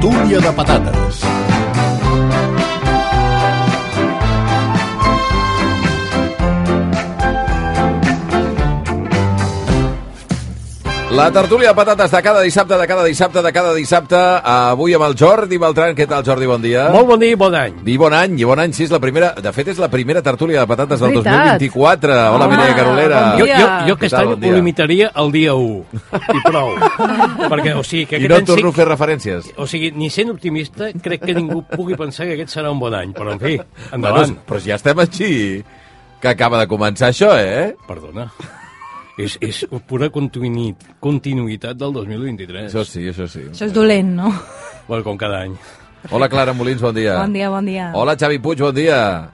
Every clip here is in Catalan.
Tortilla de patates. La tertúlia de patates de cada dissabte, de cada dissabte, de cada dissabte, avui amb el Jordi Beltran. Què tal, Jordi? Bon dia. Molt bon dia i bon any. I bon any, i bon any, sí, és la primera... De fet, és la primera tertúlia de patates del Veritat. 2024. Hola, Home, Mireia Carolera. bon Jo, dia. jo, jo aquest Què tal, any bon Ah. dia? ho limitaria al dia 1 i prou. Perquè, o sigui, que I aquest no any torno a sí, fer referències. o sigui, ni sent optimista, crec que ningú pugui pensar que aquest serà un bon any. Però, en fi, endavant. Bueno, però si ja estem aquí, que acaba de començar això, eh? Perdona. És, és pura continui- continuïtat del 2023. Això sí, això sí. Això és dolent, no? Bueno, com cada any. Hola, Clara Molins, bon dia. Bon dia, bon dia. Eh. Hola, Xavi Puig, bon dia.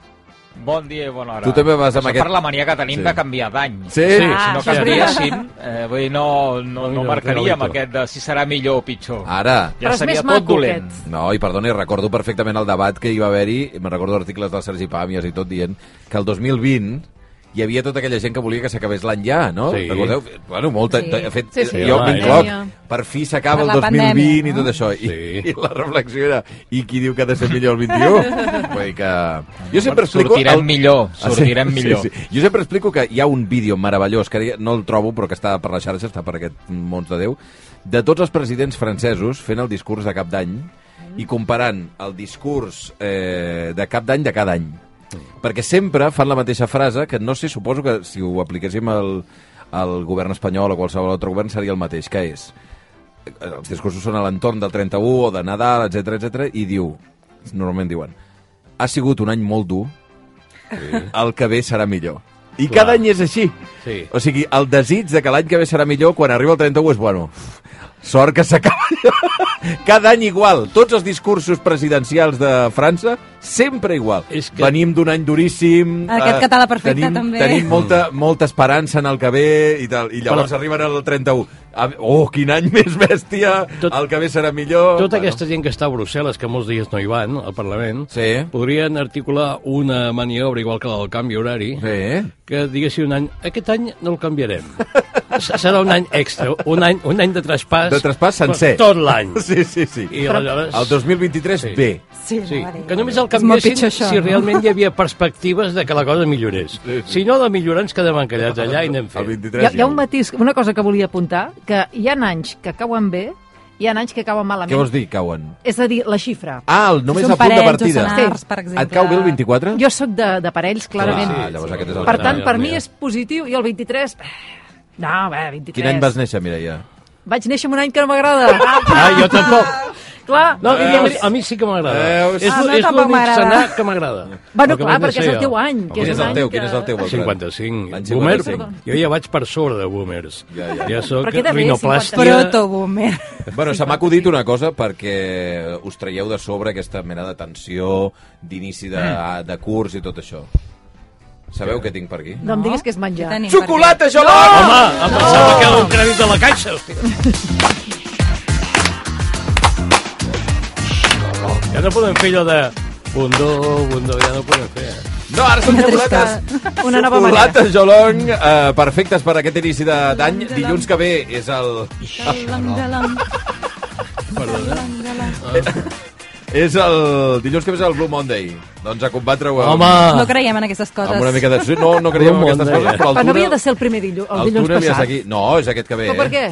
Bon dia i bona hora. Tu també vas amb Això aquest- per la mania que tenim Sí. sí. de canviar d'any. Sí? Sí. Si Ah, no això és veritat. canviessin, eh, vull dir, no, no, no Mira, marcaríem regalito. aquest de si serà millor o pitjor. Ara. Ja Però és seria més tot maco, dolent. aquest. No, i perdoni, recordo perfectament el debat que hi va haver-hi, me'n recordo articles del Sergi Pàmies i tot dient que el 2020 hi havia tota aquella gent que volia que s'acabés l'any ja, no? Sí. Recordeu? Bueno, molta... Sí. De fet, Sí, sí, jo la m'incloc, pandèmia. per fi s'acaba el Per la 2020 pandèmia, i no? tot això. I, Sí. I la reflexió era, i qui diu que ha de ser millor el 21? Vull dir que... Jo sempre explico... Sortirem el- millor, Ah, sí? sortirem millor. Sí, sí. Jo sempre explico que hi ha un vídeo meravellós, que ara ja no el trobo, però que està per la xarxa, està per aquest mons de Déu, de tots els presidents francesos fent el discurs de cap d'any i comparant el discurs eh, de cap d'any de cada any. Perquè sempre fan la mateixa frase, que no sé, suposo que si ho apliquéssim al, al govern espanyol o qualsevol altre govern seria el mateix, que és eh, els discursos són a l'entorn del 31 o de Nadal, etc etc i diu, normalment diuen, ha sigut un any molt dur, el que ve serà millor. I Clar. cada any és així. Sí. O sigui, el desig de que l'any que ve serà millor, quan arriba el 31, és bueno. Sort que s'acaba allò. Cada any igual. Tots els discursos presidencials de França, sempre igual. És que- Venim d'un any duríssim. Aquest eh, català perfecte, tenim, també. Tenim molta, molta esperança en el que ve i tal. I llavors Mm. Però- arriben al 31. A- Oh, quin any més bèstia! Tot- el que ve serà millor. Tota aquesta gent que està a Brussel·les, que molts dies no hi van, al Parlament, Sí. podrien articular una maniobra igual que la del canvi horari, Sí. que diguessin un any, aquest any no el canviarem. S- Serà un any extra, un any, un any de traspàs. De traspàs sencer. Tot l'any. Sí, sí, sí. I aleshores... El 2023 Sí. ve. Sí, Sí, la veritat. que només el És molt canviessin pitjor això, si no? realment hi havia perspectives de que la cosa millorés. Si no, de millorar ens quedem encallats Doncs allà i anem El fent. 23 Hi ha, hi ha un ja. matís, una cosa que volia apuntar, que hi ha anys que cauen bé, hi ha anys que cauen malament. Què vols dir, cauen? És a dir, la xifra. Ah, el només són a punt de parells o partida. senars, per exemple. Et cau bé el 24? Jo sóc de- d'aparells, clarament. Ah, llavors aquest és el Per que- tant, Ah, per ja, mi ja. és positiu, i el 23... eh, No, bé, 23... Quin any vas néixer, Mireia? Vaig néixer en un any que no m'agrada. Ah, jo tampoc. Clar, No, i a, mi, llavors- a mi sí que m'agrada. Veus? És, Ah, no, és tampoc l'únic m'agrada. senar que m'agrada. Bueno, El que clar, vaig perquè és néixer el jo. teu any, que Quin és és un el any teu? que... Quin és el teu? Beltran? 55. L'any Boomer, 55. jo ja vaig per sobre de boomers. Ja, ja. ja soc Però què de bé, rinoplàstia. Proto-boomer. Bueno, se m'ha acudit una cosa perquè us traieu de sobre aquesta mena de tensió d'inici de, Mm. de curs i tot això. Sabeu què tinc per aquí? No em diguis que és menjar. Tenim Xocolata gelada! Home, em pensava que era un crèdit de la caixa. Hòstia. Ja no podem fer allò de... Bundó, bundó, ja no podem fer. eh? No, ara són xocolates. Una nova manera. Xocolates Jolong, eh, perfectes per aquest inici de- d'any. Dilluns que ve és el... eh? És el... Dilluns que ve és el Blue Monday. Doncs a combatre-ho amb, Home, No creiem en aquestes coses. Ah. amb una mica de... Sí, No, no creiem en Blue aquestes Monday, coses, però eh? el Però no havia túnel... de ser el primer dilluns, el El dilluns túnel ja és passat. aquí. No, és aquest que ve. Però per eh? què?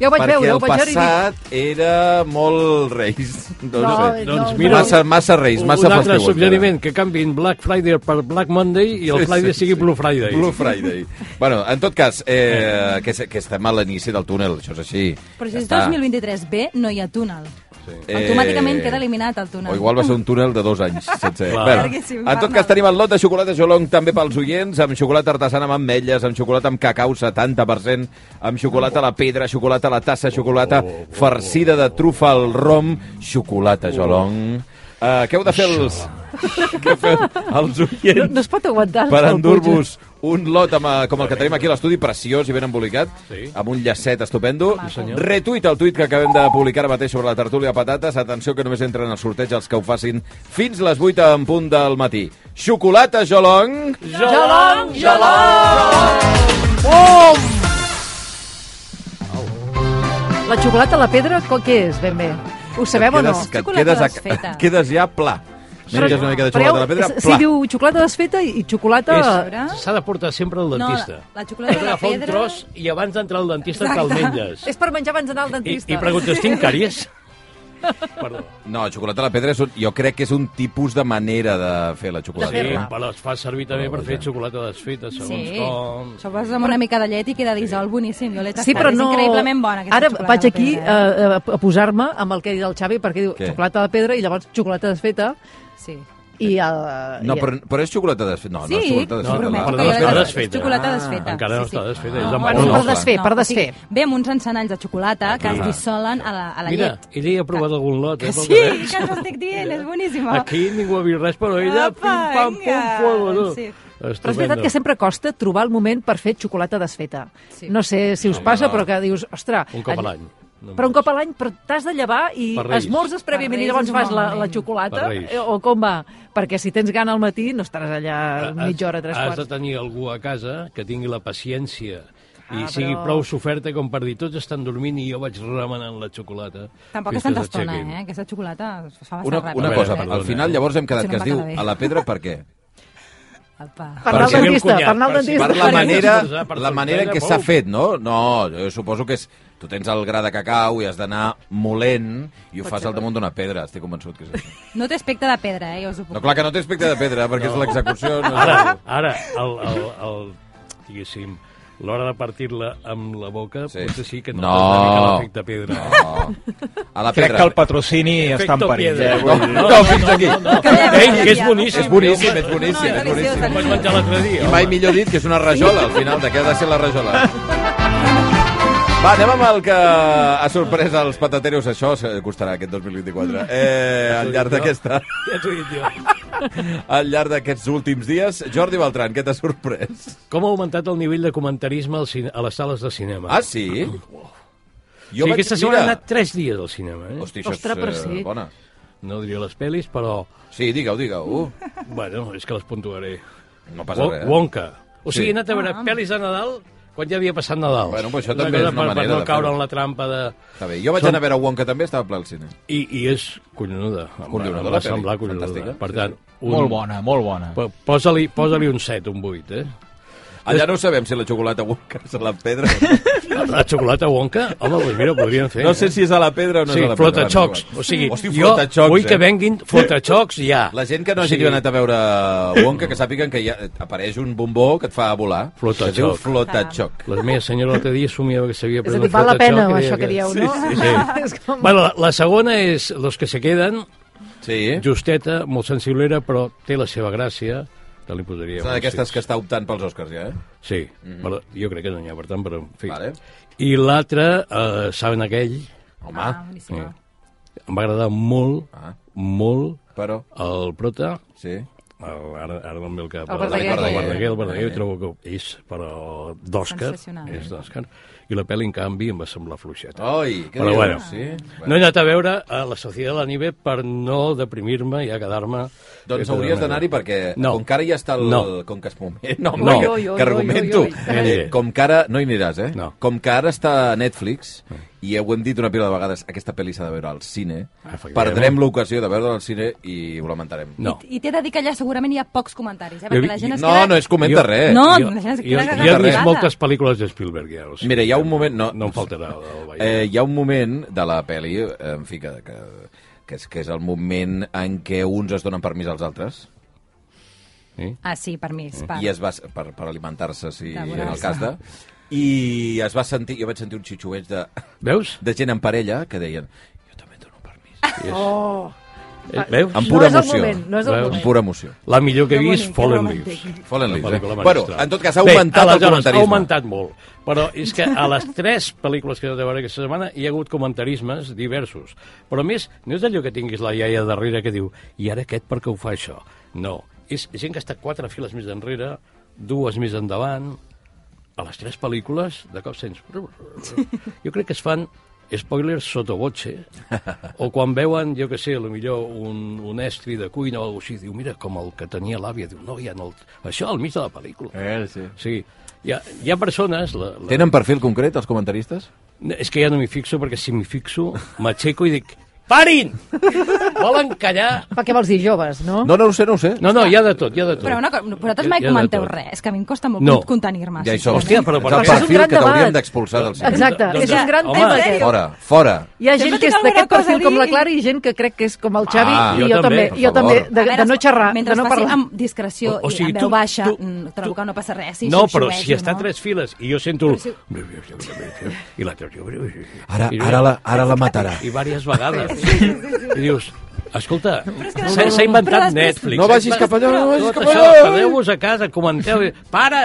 Ja ho vaig Perquè veure, ho el vaig veure i dic... passat era molt reis. No, no sé. doncs no, mira, massa, massa reis, massa un altre festiu. suggeriment, que canviïn Black Friday per Black Monday i Sí, el Friday sí, sigui sí. Blue Friday. Blue Friday. bueno, en tot cas, eh, que, se- que estem a l'inici del túnel, això és així. Però si Ja és està. Eh, 2023 B, no hi ha túnel. Automàticament queda eliminat el túnel. O igual va ser un túnel de dos anys, sencer. Clar. Bueno, Llarguíssim, en tot Bernat. cas, tenim el lot de xocolata Jolong també pels oients, amb xocolata artesana amb ametlles, amb xocolata amb cacau 70%, amb xocolata a la pedra, xocolata a la tassa, xocolata Oh, farcida de trufa al rom, xocolata Jolong. Uh, què heu de fer els... Oh. què feu els No, oients no es pot aguantar. per el Puig. endur-vos un lot amb, eh, com el que tenim aquí a l'estudi, preciós i ben embolicat, Sí. amb un llacet estupendo. Retuit el tuit que acabem de publicar ara mateix sobre la tertúlia de patates. Atenció que només entren al sorteig els que ho facin fins les 8 en punt del matí. Xocolata Jolong. Jolong, La xocolata a la pedra, co- què és, ben bé? Ho sabem o no? Que et Xocolata quedes, a, desfeta. et quedes ja pla. Menges una mica de xocolata a la pedra, Si pla. diu xocolata desfeta i i xocolata... És- Ara? S'ha de portar sempre al dentista. No, la xocolata de la Agafar un pedra- tros i abans d'entrar al dentista te'l Exacte. menges. És per menjar abans d'anar al I, dentista. I preguntes, tinc càries? Perdó. No, xocolata a la pedra és un, jo crec que és un tipus de manera de fer la Sí, xocolata. fer-la. però es fa servir també per fer xocolata desfeta, segons Sí, com... això ho poses amb una mica de llet i queda dissol boníssim. Jo l'he tastat, Sí, però no... és increïblement bona. aquesta Ara xocolata vaig de aquí pedra, eh? eh, a, a posar-me amb el que ha dit el Xavi, perquè diu Què? xocolata de pedra i llavors xocolata desfeta Sí. i... El, No, i- però, però és xocolata desfeta. No, no és Sí, xocolata no, desfeta. prometo la- que la- jo la- l'he la- tastat. És eh, xocolata desfeta. Ah, encara no Sí, sí. està desfeta, és No, amb bueno, bola. per desfer, No, per o desfer. sigui, Ve amb uns encenalls de xocolata que es Clar. dissolen a la, a la Ah. Mira, llet. ella hi ha provat algun lot, eh? pel Sí, que veig. que t'ho estic dient, és boníssima. Aquí ningú ha vist res, però ella, Apa, pim, pam, pum, vinga. fuego, no? Sí. Però és veritat que sempre costa trobar el moment per fer xocolata desfeta. Sí. No sé si us passa, però que dius, ostres... Un cop a en- l'any. només. Però un cop a l'any però t'has de llevar i Per Reis. esmorzes Per prèviament i Reis llavors és fas bon la, moment. la xocolata Per Reis. eh, o com va? Perquè si tens gana al matí no estaràs allà Has- mitja hora, tres Ah, Has de quarts. tenir algú a casa que tingui la paciència i Ah, sigui però- prou soferta com per dir tots estan dormint i jo vaig remenant la xocolata. Tampoc fins és tanta que estona, s'aixequin. eh? Aquesta xocolata es fa bastant Una, ràpid. una A veure, cosa, perdona, al final llavors hem quedat Si no que es em va diu quedar bé. a la pedra per què? Apa. Per anar al Perquè ve el dentista, cunyat, per anar al per si- dentista. Per la Per manera, esmorzar, per la manera en què sortir, s'ha pou. fet, no? No, jo suposo que és... Tu tens el gra de cacau i has d'anar molent i ho fas al damunt d'una pedra, estic convençut que és això. No té aspecte de pedra, eh? Jo us ho puc No, clar que no té aspecte de pedra, perquè és l'execució... No és Ara, el- ara el, el, el, diguéssim, l'hora de partir-la amb la boca, Sí. sí. potser sí que no, No. no. t'has dedicat a l'efecte pedra. No. A la Crec que pedra. el patrocini està en Efecto perill. piedra. Eh? Vull dir, No, no, no, fins aquí. no, no. Calla, Ei, calla, que és calla. boníssim. És boníssim, és No, boníssim, és és deliciós, boníssim. Ho vaig menjar l'altre dia. I mai millor dit que és una rajola, al final, de què ha de ser la rajola. Va, anem amb el que ha sorprès els patateros. Això se- costarà aquest 2024. Eh, al llarg d'aquesta... Ja t'ho he dit jo. Al llarg d'aquests últims dies, Jordi Beltran, què t'ha sorprès? Com ha augmentat el nivell de comentarisme al cine, a les sales de cinema? Ah, sí? Jo o sigui, aquesta setmana mira, he anat 3 dies al cinema, eh? Hosti, això Ostres, és però eh, sí. bona. No diria les pel·lis, però... Sí, digue-ho, digue-ho. Bueno, és que les puntuaré. No passa Wo- res. eh? Wonka. O Sí. sigui, he anat a veure pel·lis de Nadal quan ja havia passat Nadal. Bueno, però això És una també és cosa una per, manera per de no caure fer-ho. en la trampa de... Està bé. Jo vaig Són- anar a veure Wonka també, estava ple al cine. I, i és collonuda. Em va- Collonuda, la em va pel·li. semblar collonuda. Fantàstica. Per tant, un... Molt bona, molt bona. po- Posa-li posa un 7, un 8, eh? Allà no sabem si la xocolata Wonka és a la pedra. La xocolata Wonka? Home, doncs mira, podríem fer. No sé si és a la pedra o no Sí, és a la pedra. flotaxocs. O sigui, Hosti, jo flotaxocs, vull que eh? venguin flotaxocs ja. La gent que no O hagi sigui, anat a veure Wonka, que sàpiguen que hi ha, apareix un bombó que et fa volar. Flotaxoc. Que es diu flotaxoc. La meva senyora l'altre dia somiava que s'havia És pres a un dir, val la flotaxoc pena i deia això que dieu, no? Sí, sí. És com... Bueno, la, la segona és Los que se queden, Sí. justeta, molt sensiblera, però té la seva gràcia. Te li posaria... És una un d'aquestes sis. que està optant pels Oscars, ja, eh? Sí, mm -hmm. però jo crec que no n'hi ha, per tant, però en fi. Vale. I l'altre, eh, saben aquell, Home, Ah, boníssima. em va agradar molt, Ah. ah. molt però... el prota, Sí. el, ara, ara no em ve el cap. El Verdaguer. El Verdaguer. Verdaguer, el Verdaguer, trobo que és, però d'Òscar, Sensacional. eh? és d'Òscar, i la pel·li, en canvi, em va semblar fluixeta. Oi, què Però dius? bueno, Oh, Sí? Ah. No he anat a veure a la Societat de la Nive per no deprimir-me i Eh, a quedar-me... Doncs hauries d'anar-hi perquè, No. com que ara ja està el... No. Com que es moment... No, home, No. que, Oi, oi, oi, que argumento. oi, oi, oi. Eh, com que ara... No hi aniràs, eh? No. Com que ara està a Netflix, i ho hem dit una pila de vegades, aquesta pel·li s'ha de veure al cine, Ah, Efectivament. perdrem l'ocasió de veure-la al cine i ho lamentarem. No. I t'he de dir que allà segurament hi ha pocs comentaris, eh? Jo Perquè vi- la gent es No, queda... no es comenta Jo- res. No, jo, imagina't que jo, era jo he vist carregada. moltes pel·lícules de Spielberg, ja. O sigui, Mira, hi ha un moment... No, No em faltarà el ball. Eh, hi ha un moment de la pel·li, eh, en fi, que, que, que, és, que és el moment en què uns es donen permís als altres Eh? Ah, sí, per mi, és per... i es va, per, per alimentar-se, si De en el bonança. cas de... I es va sentir, jo vaig sentir un xitxueig de, Veus? de gent en parella que deien jo també dono permís. Oh. Eh, Veus? Amb pura no és emoció. el moment, no és el Veus? Amb moment. pura emoció. La millor que he Que vist, bonic, que Fallen romàntic. Leaves. Follen Leaves, eh? pel·lícula Bueno, magistral. en tot cas, ha Bé, augmentat el aleshores, comentarisme. Ha augmentat molt, però és que a les tres pel·lícules que he anat a veure aquesta setmana hi ha hagut comentarismes diversos. Però a més, no és allò que tinguis la iaia darrere que diu i ara aquest per què ho fa això? No, és gent que està quatre files més enrere, dues més endavant... A les tres pel·lícules, de cop sents... Jo crec que es fan spoilers sotto voce, o quan veuen, jo que sé, a lo millor un, un estri de cuina o alguna cosa així, diu, mira, com el que tenia l'àvia, diu, no, ja no... El... Això al mig de la pel·lícula. Eh, sí. O sigui, hi ha, hi ha persones... La, la... Tenen perfil concret, els comentaristes? No, És que ja no m'hi fixo, perquè si m'hi fixo m'aixeco i dic Parin! Volen callar... Per què vols dir joves, no? No, no ho sé, no ho sé. No, no, hi ha de tot, hi ha de tot. Però una cosa, no, vosaltres mai Hi ha de comenteu tot. res, és que a mi em costa molt No. contenir-me. Ja hi som. Hòstia, però per és el què? És un perfil gran que t'haurien debat. d'expulsar del cinema. Exacte, Doncs- és un gran home, tema. en aquest. sèrio? Fora, fora. Hi ha Jo gent no que és tinc alguna d'aquest cosa perfil a com la dir. Clara i gent que crec que és com el Xavi Ah, i jo jo també, també, per jo favor. també, de, A veure, de no xerrar, Mentre de no es faci parlar. amb discreció O- o sigui, i en tu- veu baixa, tu- mm, tu- trobo que no passa res. Si No, però si xiu-xiuejo, està a no? tres files i jo sento... si- I l'altre... Ara, ara, la, ara la matarà. I diverses vegades. I dius, escolta, s'ha s'ha però inventat després- Netflix. No vagis s'ha cap allà, no inventat vagis tot cap això, allà. Quedeu-vos a casa, comenteu... i- Pare,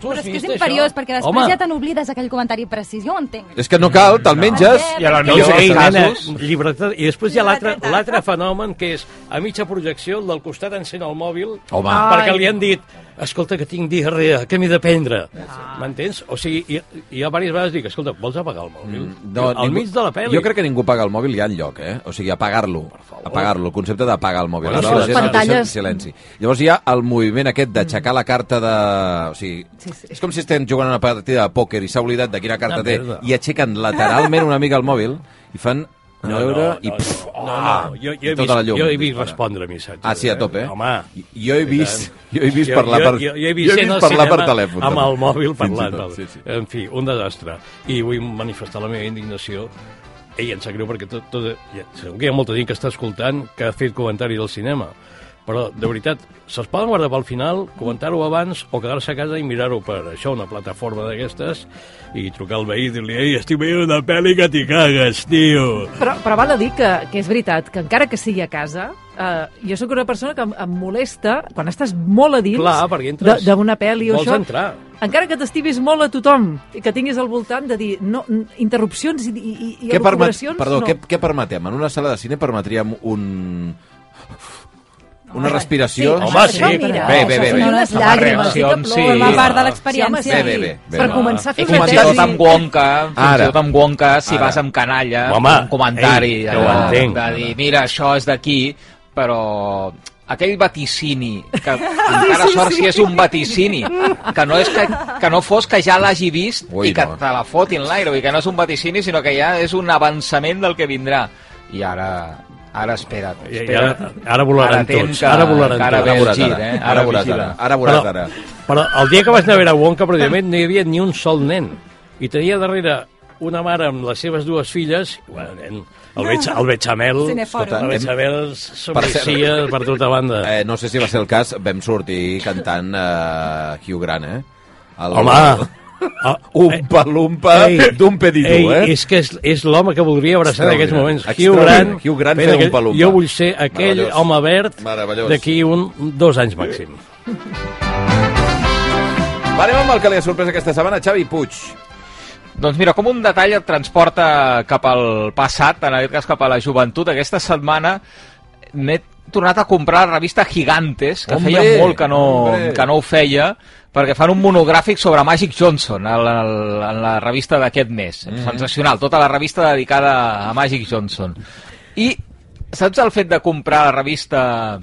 tu Però has és que vist és això? imperiós, perquè després Home, ja te n'oblides aquell comentari precís. Jo ho entenc. És que no cal, te'l menges. I a la no, Jo, ei, aquests nena, casos- llibertat. I després hi ha l'altre Llibertat. l'altre fenomen, que és a mitja projecció, el del costat encén el mòbil Home. perquè Ai. li han dit escolta, que tinc diarrea, que m'he de prendre. M'entens? O sigui, hi, hi ha diverses vegades que dic, escolta, vols apagar el mòbil? Mm, No, Al mig de la pel·li. Jo crec que ningú paga el mòbil ja enlloc, eh? O sigui, apagar-lo. Apagar-lo, el concepte d'apagar el mòbil. Bueno, Aleshores, sí, la les gent el deixa en pantalles- Silenci. Llavors hi ha el moviment aquest d'aixecar la carta de... O sigui, Sí, sí. és com si estem jugant una partida de pòquer i s'ha oblidat de quina carta Una té merda. i aixecan lateralment una mica el mòbil i fan... A No, no, veure, no, i, no, pff, no, ah, no, jo, jo, i he tota vist, la llum. jo he vist respondre missatges. Ah, sí, a tope. Eh? Home, I- jo he i vist- tant. jo he vist parlar per- Jo, jo, he jo he vist, gent vist al parlar per cinema telèfon, Amb també. el mòbil Fins i parlant. tot, sí, sí, sí. sí. En fi, un desastre. I vull manifestar la meva indignació i em sap greu perquè tot, tot, ja, segur que hi ha molta gent que està escoltant que ha fet comentari del cinema però, de veritat, se'ls poden guardar pel final, comentar-ho abans o quedar-se a casa i mirar-ho per això, una plataforma d'aquestes, i trucar al veí i dir-li «Ei, estic veient una pel·li que t'hi cagues, tio!» Però, però val a dir que, que és veritat, que encara que sigui a casa, eh, jo sóc una persona que em, em molesta quan estàs molt a dins Clar, perquè entres- de- d'una pel·li o vols això. entrar. Encara que t'estimis molt a tothom i que tinguis al voltant de dir no, n- interrupcions i, i, i i Què permet, elucubracions, perdó, no. què, què permetem? En una sala de cine permetríem un... Una respiració... Sí, home, sí. Bé, bé, bé, bé. No, les Home, llàgrimes. sí. que plouen. Sí. Forma part de Sí, l'experiència. home, Bé, bé, sí. bé, bé. Per Va. començar a fer Fins una i comentat tesi... tot amb Wonka, fins Ara. i tot amb Wonka, si Ara. vas amb canalla, Home, fas un comentari ei, que allò ho entenc. de dir, mira, això és d'aquí, però aquell vaticini, que encara sort si és un vaticini, que no, és que, que no fos que ja l'hagi vist Ui, i que no. te la fotin l'aire, i que no és un vaticini, sinó que ja és un avançament del que vindrà. I ara... Ara espera't, I espera't. ara- ara volaran atent tots, ara volaran que ara tots. ve Ara el veuràs gir, ara, eh? ara veuràs vigila. ara, ara veuràs ara. Però el dia que vas anar a veure Wonka, precisament, no hi havia ni un sol nen. I tenia darrere una mare amb les seves dues filles, i, bueno, nen, el veig, el veig Amel, Cinefòrum. el veig Amel Per somricia cert- per tota banda. Eh, no sé si va ser el cas, vam sortir cantant eh, Hugh Grant, eh? El, Home! Ah, Umpa lumpa ei, eh, d'un pedidú, ei, eh? És que és, és l'home que voldria abraçar en aquests moments. Hugh Extraordinari. Grant, Hugh Grant fent fent aquell- Oompa Loompa. Jo vull ser aquell Meravellós. home verd Meravellós. d'aquí un, dos anys màxim. Va, anem amb el que li ha sorprès aquesta setmana, Xavi Puig. Doncs mira, com un detall et transporta cap al passat, en aquest cas cap a la joventut, aquesta setmana m'he tornat a comprar la revista Gigantes, que Hombre, feia molt que no, hombre. que no ho feia, perquè fan un monogràfic sobre Magic Johnson en la, en la revista d'aquest mes. Mm -hmm. Sensacional, tota la revista dedicada a Magic Johnson. I saps el fet de comprar la revista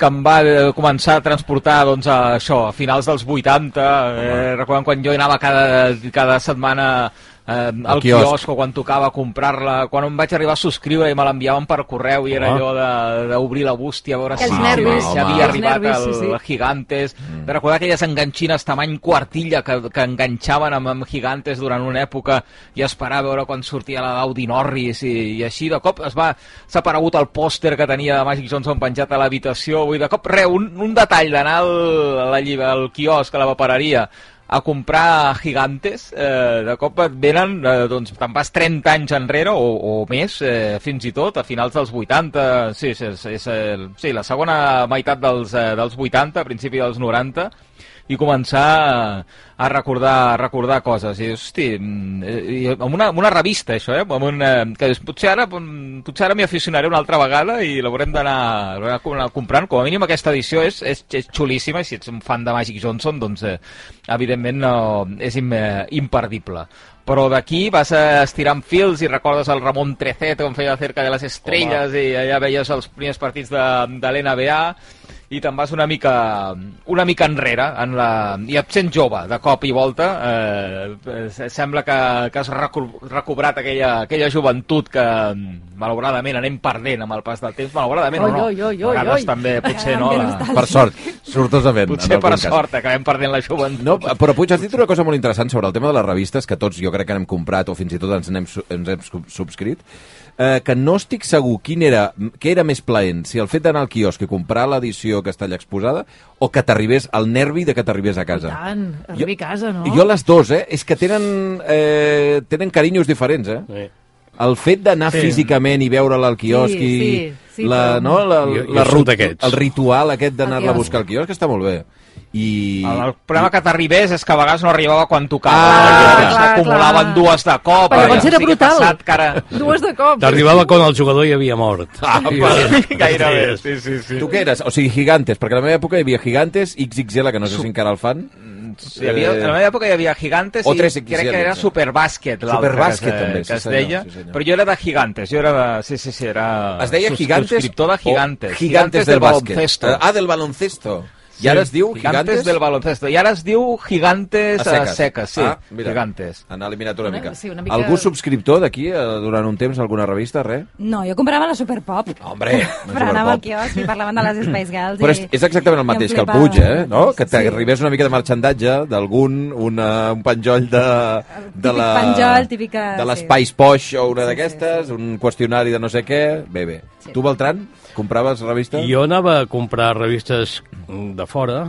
que em va eh, començar a transportar doncs, a això, a finals dels 80 eh, recordem quan jo anava cada, cada setmana eh, al quiosc. quiosc. o quan tocava comprar-la quan em vaig arribar a subscriure i me l'enviaven per correu i era Home. allò de- d'obrir la bústia a veure Els si, nervis. si havia Els arribat nervis, el, sí, sí. Gigantes de recordar aquelles enganxines tamany quartilla que, que enganxaven amb, amb Gigantes durant una època i esperar a veure quan sortia la Gaudi Norris i, i així de cop es va s'ha aparegut el pòster que tenia de Magic Johnson penjat a l'habitació vull dir, de cop re, un, un detall d'anar al, a la llibre- al quiosc, a la papereria a comprar gigantes, eh, de cop et venen, eh, doncs te'n vas 30 anys enrere o, o més, eh, fins i tot, a finals dels 80, sí, és, és, és, eh, sí la segona meitat dels, eh, dels 80, a principi dels 90, i començar a- a recordar, a recordar coses. I, hosti, mm, eh, i amb, una, amb una revista, això, eh? Amb un, eh, que és- potser ara, mm, potser ara m'hi aficionaré una altra vegada i l'haurem d'anar l'haurem d'anar comprant. Com a mínim aquesta edició és, és, és xulíssima i si ets un fan de Magic Johnson, doncs, eh, evidentment, no, és im, eh, imperdible. Però d'aquí vas eh, estirant fils i recordes el Ramon Trecet com feia cerca de les estrelles i allà veies els primers partits de, de l'NBA i te'n vas una mica, una mica enrere en la... i et sents jove de cop i volta eh, eh, sembla que, que has recu- recobrat aquella, aquella joventut que, malauradament anem perdent amb el pas del temps, malauradament Oi, o no. oi, oi, oi, A vegades oi. també, potser no. També La... Ah, nostàlgic. Per sort, sortosament. en Potser algun per cas. sort eh, acabem perdent la joventut. No, però Puig, has dit una cosa molt interessant sobre el tema de les revistes, que tots jo crec que n'hem comprat o fins i tot ens n'hem su- ens hem sub- subscrit, eh, que no estic segur quin era, què era més plaent, si el fet d'anar al quiosc i comprar l'edició que està allà exposada o que t'arribés el nervi de que t'arribés a I casa. tant, arribi a casa, no? Jo les dos, eh? És que tenen, eh, tenen carinyos diferents, eh? Sí. El fet d'anar sí. Sí. físicament i veure-la al quiosc Sí, i sí, sí, la, però- no, la, Jo- jo la, sóc rut- d'aquests. el ritual aquest d'anar-la a quiosc. buscar al quiosc està molt bé. I... El, el problema que t'arribés és que a vegades no arribava quan tocava. Ah, perquè clar, S'acumulaven clar. dues de cop. Però llavors ja era sigui brutal. Passat, que ara... Dues de cop. T'arribava quan el jugador ja havia mort. Ah, però... Gairebé, sí, sí, sí. Tu què eres? O sigui, Gigantes, perquè a la meva època hi havia Gigantes, XXL, que no sé si encara el fan. Hi havia, en la meva època hi havia Gigantes eh, O i 3XL, crec que era sí. Superbàsquet, l'altre Superbàsquet, que, es- també, sí, que es senyor, deia, sí, senyor. però jo era de Gigantes, jo era de... Sí, sí, sí, era... Es deia subs- Gigantes... Subscriptor de Gigantes. o Gigantes del, bàsquet. baloncesto. Ah, del baloncesto. I ara es diu Gigantes... del baloncesto. I ara es diu Gigantes a seques, sí, Ah, mira, Gigantes. Han eliminat una Una- mica. sí, una mica- Algú subscriptor d'aquí eh, durant un temps, alguna revista, res? No, jo comprava la Super Pop. Hombre, Però anava al quiosc i parlaven de les Spice Girls. Però és, i... és exactament el i em mateix que el flipava. Puig, eh? No? Que Sí. t'arribés una mica de marxandatge d'algun, una- un penjoll de... de la, típic penjoll, típica, De sí. l'espai poix o una Sí, sí, d'aquestes, un qüestionari de no sé què... Bé, bé. Sí. Tu, Beltran, compraves revista? Jo anava a comprar revistes de fora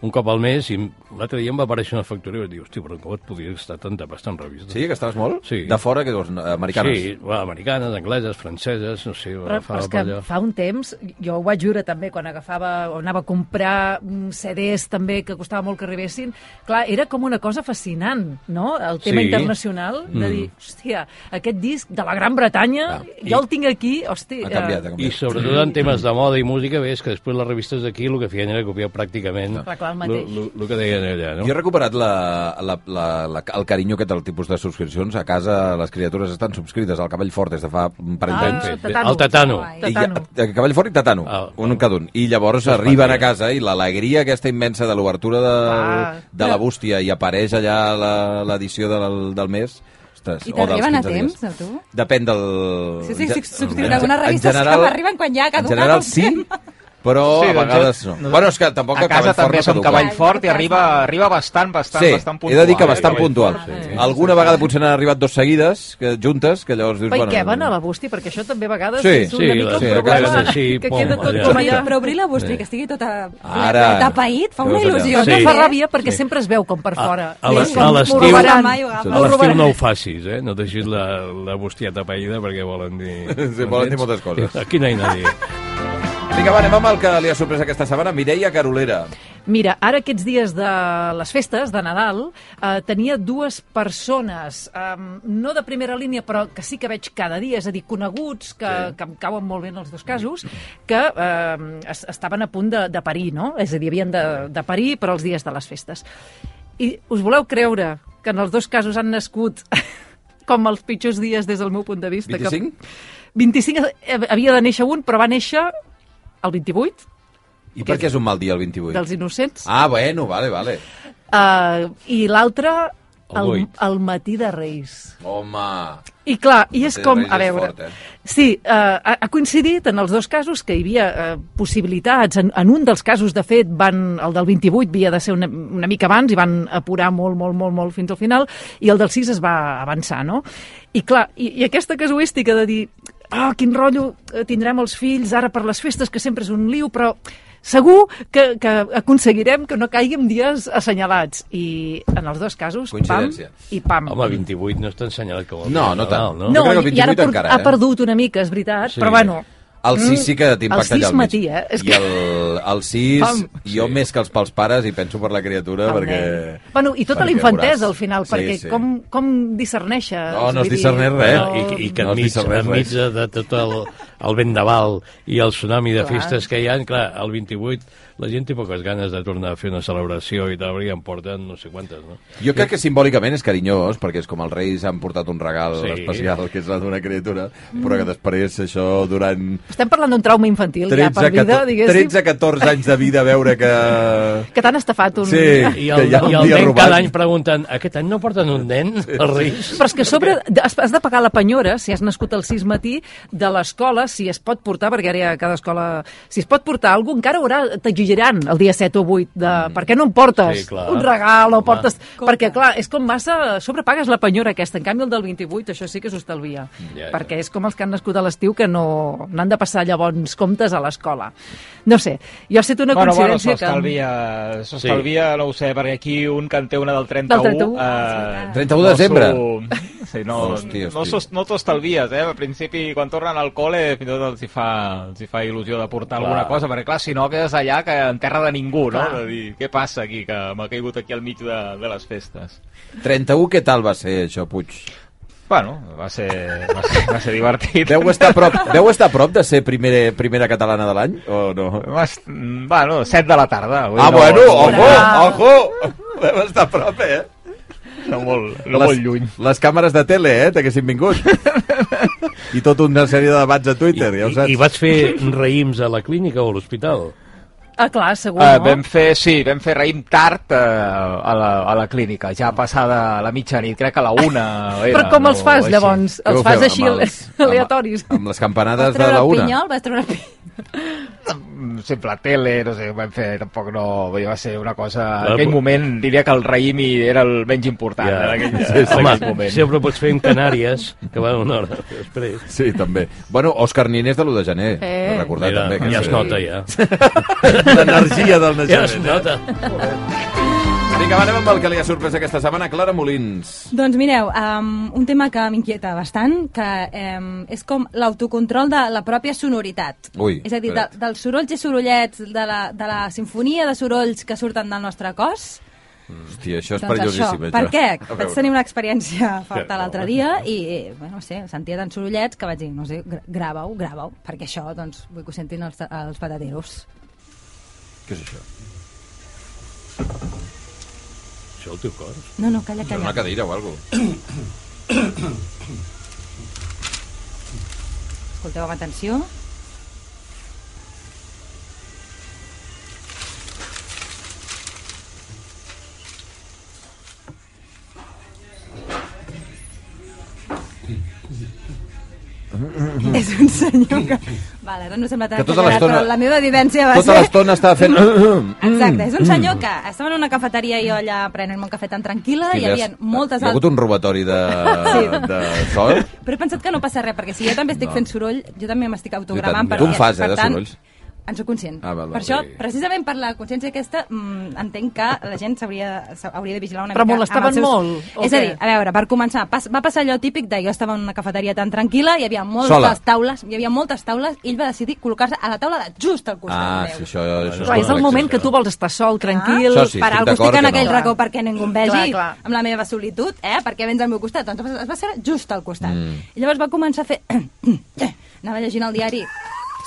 un cop al mes i l'altre dia em va aparèixer una factura i vaig dir, hòstia, però com et podria estar tanta pasta en revistes? Sí, que estaves molt? Sí. De fora, que dius, americanes? Sí, va, americanes, angleses, franceses, no sé, Però, agafava però és per que allò. fa un temps, jo ho vaig jurar també, quan agafava o anava a comprar mm, CDs també, que costava molt que arribessin, clar, era com una cosa fascinant, no?, el tema Sí. internacional, de dir, hòstia, aquest disc de la Gran Bretanya, Mm. Ah, i- jo el tinc aquí, hòstia... Ha canviat, ha eh, canviat. I sobretot en temes de moda i música, ves que després les revistes d'aquí el que feien era copiar pràcticament Clar, clar, el el mateix. el que deien allà, Jo he no? recuperat la, la, la, la, el carinyo aquest del tipus de subscripcions. A casa les criatures estan subscrites al cabell fort des de fa un parell Ah, d'anys. Tatano. El tatano. Ai. I, Tatano. ja- eh, cavall fort i tatano, Ah, un cada un. I llavors arriben a casa i l'alegria aquesta immensa de l'obertura de, Ah. de la bústia i apareix allà la- l'edició del, del mes... Ostres, I o dels t'arriben a 15 dies. temps, a tu? Depèn del... Sí, sí, sí, en ge- subscriure algunes revistes que m'arriben quan ja ha En caducat general el sí, tema. però Sí, a doncs vegades jo- no. nosaltres- Bueno, és que tampoc a casa cavall fort també no som caduca. cavall fort i Ai, arriba, que passa. arriba bastant, bastant, Sí, bastant puntual. he de dir que eh, bastant cavall puntual. fort, Sí. sí. Alguna vegada potser n'han arribat dos seguides, que, juntes, que llavors dius... Però i què van no. a la bústia? Perquè això també a vegades Sí, és una sí, mica sí, un a problema vegades sí, que pom, queda tot allà. com Obrir, allà. però obrir la bústia, que estigui tota Ara. tapaït, fa una Veus allà? il·lusió. Però Sí. no fa ràbia perquè sempre es veu com per fora. a la- És com, Ah, a m'ho l'estiu- robaran. Mai ho agafo. M'ho A l'estiu robaran. no ho facis, eh? No deixis la, la bustieta païda perquè volen dir... Sí, volen dir moltes coses. Aquí no hi ha dir. Vinga, va, anem amb el que li ha sorprès aquesta setmana, Mireia Carolera. Mira, ara aquests dies de les festes de Nadal eh, tenia dues persones, eh, no de primera línia, però que sí que veig cada dia, és a dir, coneguts, que, sí. que em cauen molt bé en els dos casos, que eh, es, estaven a punt de, de parir, no? És a dir, havien de, de parir per als dies de les festes. I us voleu creure que en els dos casos han nascut com els pitjors dies des del meu punt de vista. 25? Que... 25 havia de néixer un, però va néixer el 28, I per què és un mal dia el 28? dels innocents. Ah, bueno, vale, vale. Uh, I l'altre, El el, vuit. el matí de Reis. Home... I clar, i és Matí de com, Reis a és veure... fort, eh? Sí, eh, ha ha coincidit en els dos casos que hi havia eh, possibilitats. En, en un dels casos, de fet, van, el del 28 havia de ser una, una mica abans i van apurar molt, molt, molt, molt fins al final, i el del 6 es va avançar, no? I clar, i, i aquesta casuística de dir ah, quin rotllo eh, tindrem els fills ara per les festes, que sempre és un liu, però segur que, que aconseguirem que no caigui en dies assenyalats. I en els dos casos, pam Coincidència. i pam. Home, 28 no està ensenyalat com el No, no Nadal, tant. no? Jo No, crec que el i- i ara 28 per, encara, ha eh? perdut una mica, és veritat, Sí. sí. però bueno, El 6 sí que t'impacta allà Mm, el sis al mig. matí, eh? És I el, el 6, Pam. jo més que els pels pares i penso per la criatura, el perquè... nen. Bueno, i tota la perquè veuràs. infantesa al final, Sí, perquè sí. com, com discerneixes? No, no es Vull dir, discerneix res. no- Eh? I, i que No has enmig, dit res, enmig res. de tot el, el vendaval i el tsunami de Clar. festes que hi ha, clar, el 28 la gent té poques ganes de tornar a fer una celebració i tal, i en porten no sé quantes, no? Jo crec que simbòlicament és carinyós, perquè és com els reis han portat un regal Sí. especial, que és la d'una criatura, però que després això durant Estem parlant d'un trauma infantil Mm. ja per 13, vida, 14, diguéssim, 13 14 anys de vida veure que... que t'han estafat un... Sí. I Que el, hi ha un i el dia nen robat. cada any pregunten, aquest any no porten un nen, els reis? Però és que a sobre has has de pagar la penyora, si has nascut al 6 matí, de l'escola, si es pot portar, perquè ara ja cada escola... Si es pot portar alguna cosa, encara haurà, t'exigiran el dia 7 o 8 de... Per què no em portes Sí, clar. un regal o Home. portes... Compte. Perquè, clar, és com massa... A sobre pagues la penyora aquesta. En canvi, el del 28, això sí que s'estalvia. Ja, ja. perquè és com els que han nascut a l'estiu que no n'han de passar llavors comptes a l'escola. No sé, jo he set una bueno, bueno, coincidència que... s'estalvia, s'estalvia, no ho sé, perquè aquí un que en té una del 31... Del Ah, 31, eh, 31 de desembre. s'ho- Sí, no, Hòstia, no, hòstia. s'ho- no t'ho estalvies, eh? Al principi, quan tornen al col·le, fins i tot els hi fa, els hi fa il·lusió de portar Clar. alguna cosa, perquè clar, si no quedes allà que en terra de ningú, no? Clar. De dir, què passa aquí, que m'ha caigut aquí al mig de, de les festes. 31, què tal va ser això, Puig? Bueno, va ser, va ser, va ser divertit. Deu estar a prop, deu estar a prop de ser primera, primera catalana de l'any, o no? Va est- Bueno, 7 de la tarda. Vull dir, Ah, no- bueno, no- ojo, Bravo. ojo! Deu estar a prop, eh? No molt, no molt lluny. Les càmeres de tele, eh, t'haguessin vingut. I tota una sèrie de debats a Twitter, ja ho saps. I, I vas fer raïms a la clínica o a l'hospital? Ah, clar, segur, Uh, no? vam fer, sí, vam fer raïm tard uh, a, la, a la clínica, ja passada la mitjanit, crec que a la una era. Però com no, els fas, així. llavors? Què Els ho fas feu, així amb els- amb- aleatoris? Amb, les campanades Vas de treure la el una. pinyol, vas treure el pinyol. Mm, Sempre a tele, no sé, vam fer, tampoc no, vull dir, va ser una cosa... Ah, En aquell però- moment diria que el raïm hi era el menys important, yeah. en aquell, sí, sí, Home, aquell moment. sempre ho pots fer en Canàries, que va una hora després. Sí, també. Bueno, Òscar Ninés de l'1 de gener, Eh. eh. recordar Mira, també. que ja és- es nota, ja. L'energia del Ja es naixement. nota. Vinga, va, anem amb el que li ha sorprès aquesta setmana, Clara Molins. Doncs mireu, um, un tema que m'inquieta bastant, que um, és com l'autocontrol de la pròpia sonoritat. Ui, és a dir, de, espera't. dels sorolls i sorollets, de la, de la sinfonia de sorolls que surten del nostre cos, Hòstia, això és doncs això. perillosíssim. Per què? A Vaig veure. tenir una experiència Ja, forta l'altre dia i, eh, bueno, no sé, sentia tants sorollets que vaig dir, no sé, gra- grava-ho, grava-ho, perquè això, doncs, vull que ho sentin els, els patateros. Què és això? Això el teu cor. No, no, calla, És una calla. cadira o alguna cosa. Escolteu amb atenció. és un senyor que... Vale, ara no sembla tan Que tota exagerat, l'estona- però la meva vivència va Tota ser... l'estona està fent... Mm. Exacte, és un senyor que estava en una cafeteria i jo allà prenent-me un cafè tan tranquil·la, hi havia moltes Hi ha hagut altres... un robatori de, Sí. de sol? Però he pensat que no passa res, perquè si jo també estic No. fent soroll, jo també m'estic autogramant. també. perquè- Tu en fas, eh, per de tant, sorolls? En sóc conscient. Ah, val, val, per això, sí. precisament per la consciència aquesta, mm, entenc que la gent s'hauria s'ha- hauria de vigilar una Però mica... amb molestaven els seus- molt, o És a què? dir, a veure, per començar, pas, va passar allò típic de jo estava en una cafeteria tan tranquil·la, hi havia moltes Sola. taules, hi havia moltes taules, i ell va decidir col·locar-se a la taula de just al costat Ah, meu. sí, això... això Clar, és el correcte, moment això. que tu vols estar sol, tranquil... Això sí, per estic algú estic d'acord en que aquell no. racó perquè ningú em vegi Clar, clar. amb la meva solitud, eh? perquè vens al meu costat. Doncs es va- es va ser just al costat. Mm. I llavors va començar a fer... Anava llegint el diari,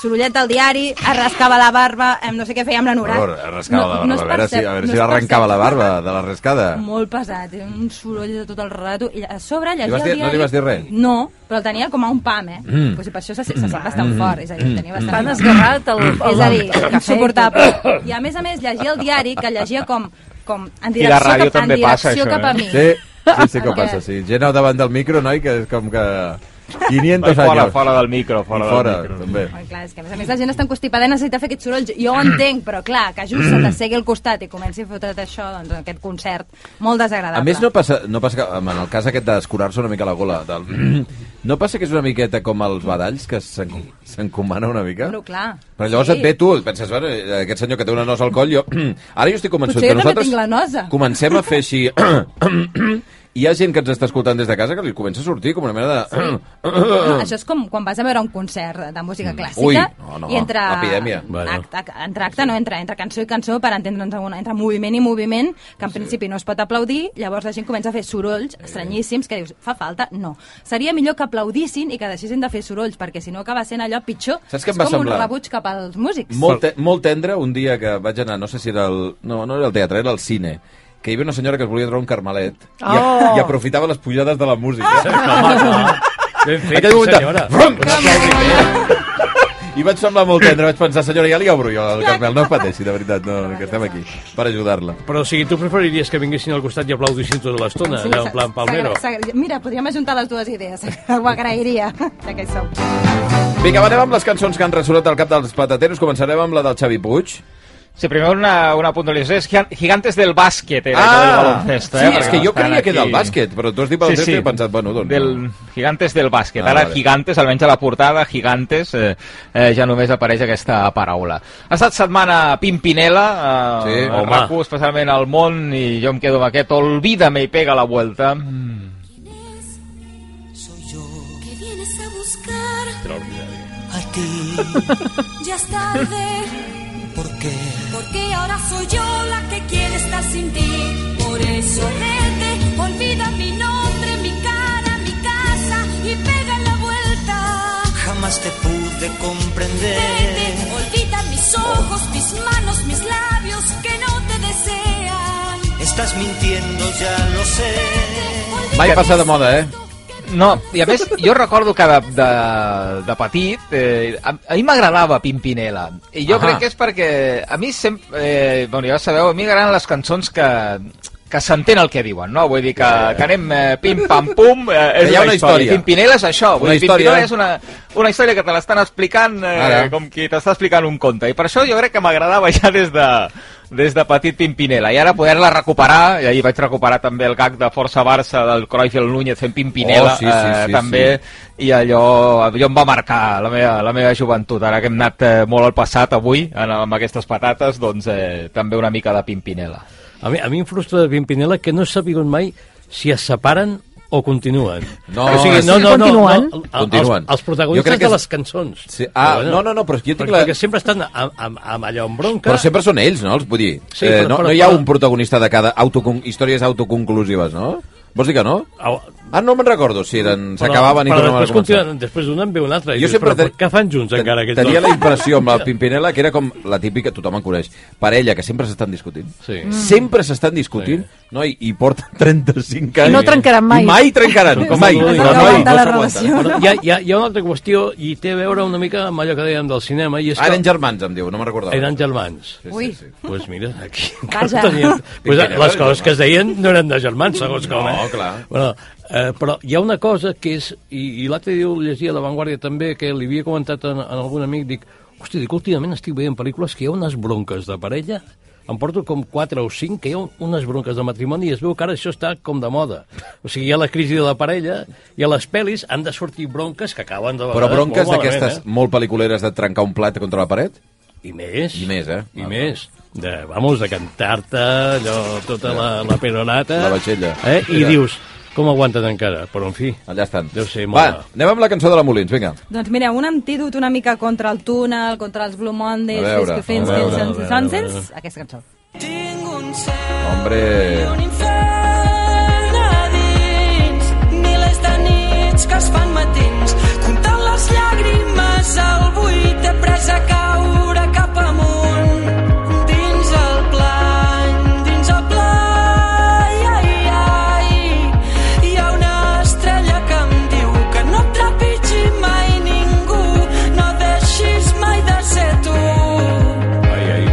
sorollet del diari, es rascava la barba, em no sé què feia amb Per l'anorat. favor, rascava la barba. es a veure si, percep- a veure no si es l'arrencava percep. la barba de la rascada. Molt pesat, era un soroll de tot el rato. I a sobre llegia vas dir- el diari... no li vas dir res? No, però el tenia com a un pam, eh? Mm. Pues, i per això se, se sent Mm. bastant fort, és a dir, el tenia bastant T'han esgarrat Mm. el, el, és a dir, el cafè. insuportable. I a més a més, llegia el diari, que llegia com, com en I la direcció, ràdio cap, en també passa, direcció això, cap a eh? mi. Sí, sí, sí que Perquè- passa, sí. Gent al davant del micro, noi, que és com que... 500 Ai, fora, anys. fora del micro, fora, I fora, del micro. també. Ai, clar, és que a més a més la gent està encostipada i necessita fer aquests sorolls. Jo ho entenc, però clar, que just se t'assegui al costat i comenci a fotre't això, doncs aquest concert, molt desagradable. A més, no passa, no passa que, en el cas aquest d'escurar-se una mica la gola, del... no passa que és una miqueta com els badalls, que s'en- s'encomana una mica? No, clar. Però llavors Sí. et ve tu, et penses, bueno, eh, aquest senyor que té una nos al coll, jo... Ara jo estic convençut Potser que jo també nosaltres tinc la nosa. comencem a fer així... Hi ha gent que ens està escoltant des de casa que li comença a sortir com una mena de... No, això és com quan vas a veure un concert de música clàssica Ah, Mm. Ui, no, no, i entre, l'epidèmia. en acte, entre acte, no, entre, entre cançó i cançó per entendre'ns alguna, entre moviment i moviment que en principi no es pot aplaudir, llavors la gent comença a fer sorolls estranyíssims que dius, fa falta? No. Seria millor que aplaudissin i que deixessin de fer sorolls perquè si no acaba sent allò pitjor. Saps què és em va com semblar? un rebuig cap als músics. Molt, te molt tendre, un dia que vaig anar, no sé si era el... No, no era el teatre, era el cine que hi havia una senyora que es volia treure un carmelet i, a, Oh! i aprofitava les pujades de la música. Home, clar. Ben fet, Aquell moment de- senyora. Brum! I vaig semblar molt tendre, vaig pensar, senyora, ja li obro jo el carmel, no es pateixi, de veritat, no, que estem aquí per ajudar-la. Però o sigui, tu preferiries que vinguessin al costat i aplaudissin tota l'estona, Sí, allà en s'ag- plan Palmero? s'agra- s'agra- Mira, podríem ajuntar les dues idees. Ho agrairia, ja que hi sou. Vinga, va, anem amb les cançons que han ressonat al cap dels patateros. Començarem amb la del Xavi Puig. Sí, primer una, una puntualització. És Gigan- Gigantes del bàsquet, era ah, del baloncesto. sí, eh, és perquè que no jo estan creia que era el aquí. bàsquet, però tu has dit baloncesto sí, sí. i he pensat, bueno, doncs... Del, gigantes del bàsquet. Ah, Ara vale. gigantes, almenys a la portada, gigantes, eh, eh, ja només apareix aquesta paraula. Ha estat setmana Pimpinela, eh, Sí, sí, a home. RAC1, especialment al món, i jo em quedo amb aquest Olvídame i pega la vuelta. Mm. Soy yo que vienes a buscar a ti. ya es tarde ¿Por qué? porque ahora soy yo la que quiere estar sin ti por eso vete olvida mi nombre mi cara mi casa y pega la vuelta Jamás te pude comprender. vete olvida mis ojos mis manos mis labios que no te desean Estás mintiendo, ya lo sé. Mai passa de moda, eh? No, i a més, jo recordo que de, de, de petit, eh, a, a mi m'agradava Pimpinela, i jo Ahà. Aha. crec que és perquè a mi sempre, eh, bueno, ja sabeu, a mi m'agraden les cançons que, que s'entén el que diuen, no? Vull dir que, que anem eh, pim-pam-pum, eh, és hi ha una història. Pimpinela és això, vull Una dir, història. Pimpinela eh? és una, una història que te l'estan explicant eh, Ara. com qui t'està explicant un conte, i per això jo crec que m'agradava ja des de des de petit Pimpinela, i ara poder-la recuperar, i ahir vaig recuperar també el gag de Força Barça del Cruyff i el Núñez fent Pimpinela, Pineda, Oh, sí, sí, eh, sí, també, i allò, allò em va marcar la meva, la meva joventut. Ara que hem anat eh, molt al passat avui, en, amb aquestes patates, doncs eh, també una mica de Pimpinela. A mi, a mi em frustra de Pimpinela que no he sabut mai si es separen o continuen. No, o sigui, sí, no, no, no, continuen. no, el- el- Continuen. Els, els Jo protagonistes crec que de és- les cançons. Sí, ah, no, no, no, però és que jo tinc perquè, la- Perquè sempre estan amb, amb, amb allò en bronca. Però sempre són ells, no? Els, vull dir, Sí, sí, eh, però- no, no però- hi ha però- un protagonista de cada autocon... històries autoconclusives, no? Vols dir que no? Au, Ah, no me'n recordo si eren... però- S'acabaven i però tornaven a després començar. continuen, Després d'una en ve una altra. I Jo dius, sempre però, te- què fan junts te- encara aquests Tenia dos? la impressió amb el Pimpinela que era com la típica, tothom en coneix, parella que sempre s'estan discutint. Sí. Mm. Sempre s'estan discutint, no? I, i porten 35 anys. I no trencaran mai. I mai trencaran, Són com mai. el Dudu i No, la mai. No Mari. la s'aguanten. relació. Però hi, ha, hi, ha, hi ha una altra qüestió i té a veure una mica amb allò que dèiem del cinema i és Ah, que Eren germans, em diu, no me'n recordava. eren germans. Ui, Pues mira, aquí... Vaja. Tenien... Pues Pimpinela les era coses germà. que es deien no eren de germans, segons com. Eh? No, clar. Bueno, eh, però hi ha una cosa que és... I, i l'altre dia ho llegia a La Vanguardia també, que li havia comentat a, a algun amic, dic, hosti, dic, últimament estic veient pel·lícules que hi ha unes bronques de parella em porto com 4 o 5, que hi ha un- unes bronques de matrimoni i es veu que ara això està com de moda. O sigui, hi ha la crisi de la parella i a les pel·lis han de sortir bronques que acaben de Però vegades bronques molt malament, eh?" d'aquestes molt pel·liculeres de trencar un plat contra la paret? i més. I més, eh? I Ah, més. De, vamos, de cantar-te allò, tota la, la peronata. Eh. La batxella. Eh? I Mira. dius, com aguanten encara? Però, en fi, Allà estan. Deu ser Va, molt- anem amb la cançó de la Molins, vinga. Doncs mira, un antídot una mica contra el túnel, contra els Blue Mondays, A veure, fins que fins a veure, a que veure, a Sunsets, veure. aquesta cançó. Tinc un cel Hombre... un infern a dins, milers de nits que es fan matins, comptant les llàgrimes al buit, he pres a caure cap amunt, dins el plany, dins el plany, ai, ai, hi ha una estrella que em diu que no et trepitgi mai ningú, no deixis mai de ser tu. ai, ai.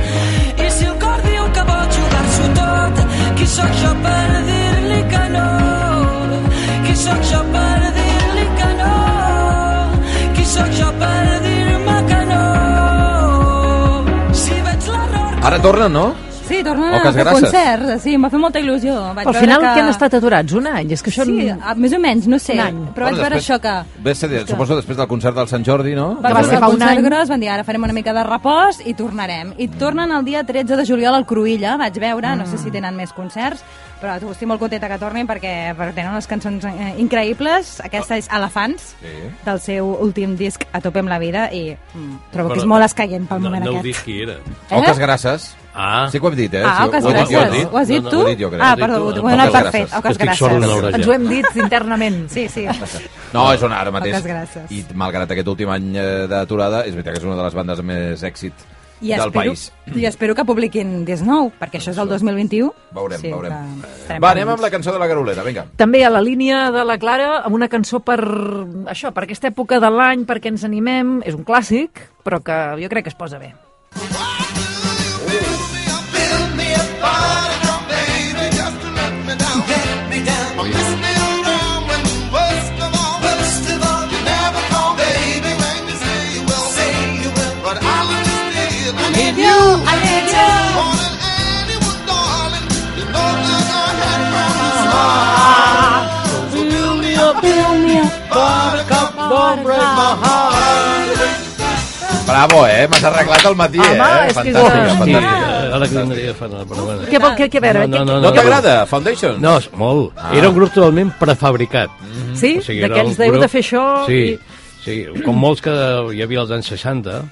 I si el cor diu que vol jugar-s'ho tot, qui sóc jo per dir-li que no? Qui sóc jo per dir-li que no? Qui sóc jo per dir-me que no? Si veig l'error... Ara tornen, no? Sí, tornen Oques a fer grasses. concerts, sí, em va fer molta il·lusió. Vaig Al veure final que... que han estat aturats un any, és que això... Sí, no- a- més o menys, no sé, Un any. però vaig veure això que... Ves, ser, suposo després del concert del Sant Jordi, no? Va Que va fer ser el fa un concert any. gros, van dir, ara farem una mica de repòs i tornarem. I tornen el dia 13 de juliol al Cruïlla, vaig veure, no sé si tenen més concerts, però estic molt contenta que tornin perquè, perquè tenen unes cançons eh, increïbles. Aquesta és Elefants, Sí. del seu últim disc A tope amb la vida, i mm, trobo que Però- és molt escaient pel No, moment no ho dic aquest. qui era. Eh? Oques grasses. Ah. Sí que ho hem dit, eh? Ah, sí, Oques ho he dit jo, Grasses. he dit. Ho has No, dit no, tu? ho he dit jo, crec. Ah, Ho he dit perdó, tu. ho he donat Oques per fet. Grasses. Oques Estic sort d'una Grasses. orella. Ens ho hem dit internament. Sí, sí. No, és on ara mateix. Oques Grasses. I malgrat aquest últim any eh, d'aturada, és veritat que és una de les bandes amb més èxit I del espero, país. I espero que publiquin disc nou, perquè això és del 2021. Veurem, que veurem. estarem Va, anem amb pendents. la cançó de la Garoleta, vinga. També a la línia de la Clara, amb una cançó per això, per aquesta època de l'any, perquè ens animem, és un clàssic, però que jo crec que es posa bé. Bravo, eh? M'has arreglat el matí, eh? Home, és que és Fantàstica, una- Sí, fantàstica. ara que vindria a fer una però bueno. Què vol que, que a veure? No, no, No t'agrada, Foundation? No, és molt. Ah. Era un grup totalment prefabricat. que- Sí? O sigui, era D'aquells un d'heu grup- de fer això... Sí, i- sí, com molts que hi havia als anys 60,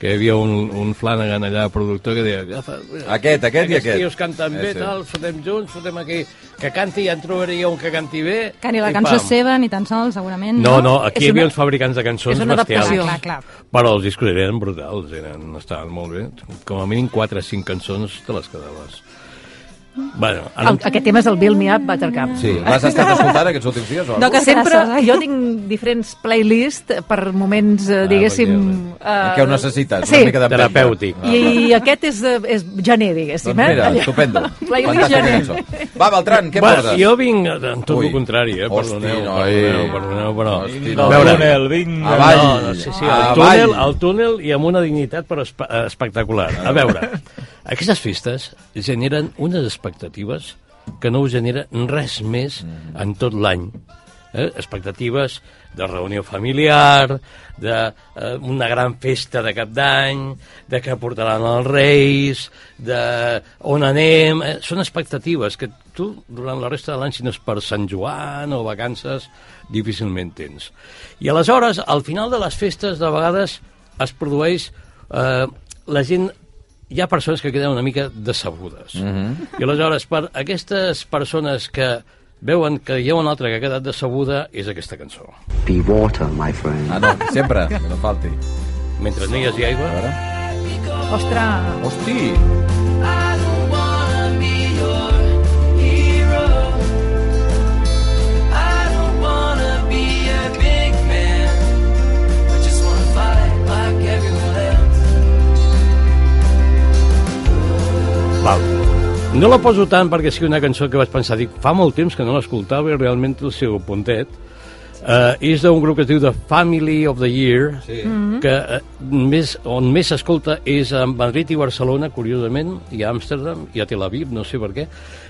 que hi havia un, un Flanagan allà, productor, que deia... Agafa, Aquest, aquest i aquest. Aquests tios canten bé, Eh, sí. tal, fotem junts, fotem aquí... Que canti, ja en trobaria un que canti bé... Que ni la i cançó pam. seva, ni tan sols, segurament. No, no, aquí És hi havia una- uns fabricants de cançons és una bestials. adaptació. Clar, clar, clar. Però els discos eren brutals, eren, estaven molt bé. Com a mínim 4 o 5 cançons te les quedaves. Bueno, ara... El, aquest tema és el Build Me Up Buttercup. Sí, l'has estat escoltant aquests últims dies? O... No, que Sempre grasses, eh? jo tinc diferents playlists per moments, Ah, eh, diguéssim... En eh, què ho necessites? Sí. Una mica d'empenta. Terapèutic. Ah, va. I aquest és, eh, és gener, diguéssim. Doncs mira, eh? estupendo. Playlist Fantàstica gener. cançó. Va, Beltran, què Bueno, poses? jo vinc en tot Ui. el contrari, eh? Hosti, perdoneu, noi. perdoneu, perdoneu, però... Hosti, A noi. veure, Túnel, vinga. Avall, No, no, sí, sí, el avall. túnel, el túnel i amb una dignitat però espe eh, espectacular. A veure, aquestes festes generen unes expectatives que no us genera res més en tot l'any. Eh? Expectatives de reunió familiar, d'una eh, una gran festa de cap d'any, de què portaran els reis, de on anem... Eh? Són expectatives que tu, durant la resta de l'any, si no és per Sant Joan o vacances, difícilment tens. I aleshores, al final de les festes, de vegades es produeix... Eh, la gent hi ha persones que queden una mica decebudes. Mm -hmm. I aleshores, per aquestes persones que veuen que hi ha una altra que ha quedat decebuda, és aquesta cançó. Be water, my friend. Ah, no, sempre, que no falti. Mentre no hi hagi aigua... Ostres, Hosti! Val. No la poso tant perquè sigui una cançó que vaig pensar, dic, fa molt temps que no l'escoltava i realment el seu puntet. Uh, és d'un grup que es diu The Family of the Year, sí. que uh, més, on més s'escolta és a Madrid i Barcelona, curiosament, i a Amsterdam, i a Tel Aviv, no sé per què.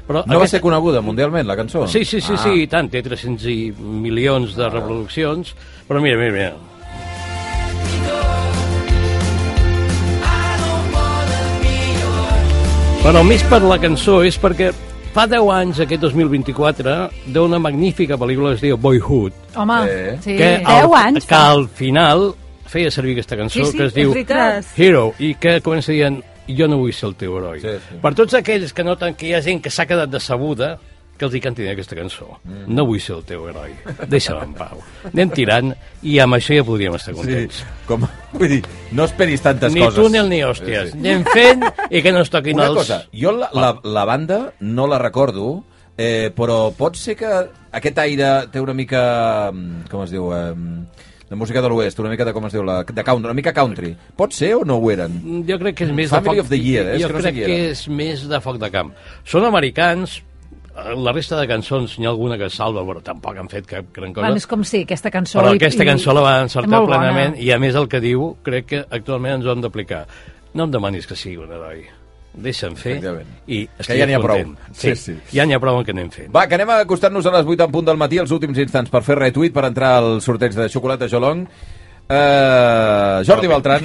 Però No va ser coneguda mundialment, la cançó? Sí, sí, sí, Ah. ah. sí, i tant, té 300 i milions de reproduccions, però mira, mira, mira. Però més per la cançó és perquè fa 10 anys, aquest 2024, d'una magnífica pel·lícula que es diu Boyhood, home, Eh? sí. que, al, 10 anys que al final feia servir aquesta cançó Sí, sí, que es diu és veritat. Hero i que comença dient jo no vull ser el teu heroi. Sí, sí. Per tots aquells que noten que hi ha gent que s'ha quedat decebuda, que els hi cantin aquesta cançó. Mm. No vull ser el teu heroi. Deixa'm en pau. Anem tirant i amb això ja podríem estar Sí, contents. com, vull dir, no esperis tantes Ni coses. túnel ni hòsties. Sí, sí. Anem fent i que no es toquin Una els... cosa, jo la, la, la banda no la recordo, eh, però pot ser que aquest aire té una mica, mm, com es diu, eh, de música de l'oest, una mica de, com es diu, la, de country, una mica country. Pot ser o no ho eren? Jo crec que és més Mm, Family de foc... of the year, eh? És Jo que no sé crec qui que era. és més de foc de camp. Són americans, eh, la resta de cançons n'hi ha alguna que salva, però tampoc han fet cap gran cosa. Bueno, és com si aquesta cançó... però i- aquesta i- cançó la va és encertar molt bona. plenament i a més el que diu crec que actualment ens ho hem d'aplicar. No em demanis que sigui un heroi. deixa'm fer Efectivament. i Que estic ja n'hi ha prou. content. Sí, Sí, sí. ja n'hi ha prou amb el que anem fent. Va, que anem acostant-nos a les 8 en punt del matí, els últims instants, per fer retuit, per entrar al sorteig de xocolata Jolong. Uh, Jordi Beltran.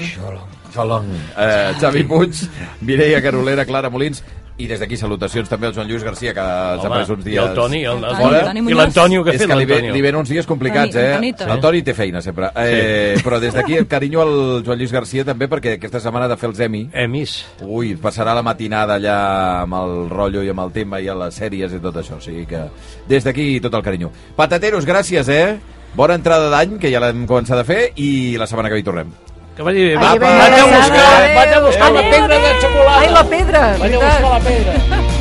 Jolong. Uh, Xavi Puig, Mireia Carolera, Clara Molins, i des d'aquí salutacions també al Joan Lluís Garcia que ens ha Home, pres uns dies... I el Toni, el, el, Toni, fora, el Toni i Muñoz. l'Antonio, que ha és fet que li, ve, l'Antonio. li ven uns dies complicats, Toni- eh? Toni Toni. El Toni té feina, sempre. Eh, però des d'aquí, carinyo al Joan Lluís Garcia també, perquè aquesta setmana ha de fer els EMI. Emis. Ui, passarà la matinada allà amb el rotllo i amb el tema i a les sèries i tot això, o sigui que des d'aquí tot el carinyo. Patateros, gràcies, eh? Bona entrada d'any, que ja l'hem començat a fer, i la setmana que ve hi tornem. Que vagi bé. Va, Vagi bé, vaig a adéu, buscar, adéu. vaig a buscar la Adéu, pedra de xocolata. Ai, la pedra! Vaig a veritat. buscar la pedra.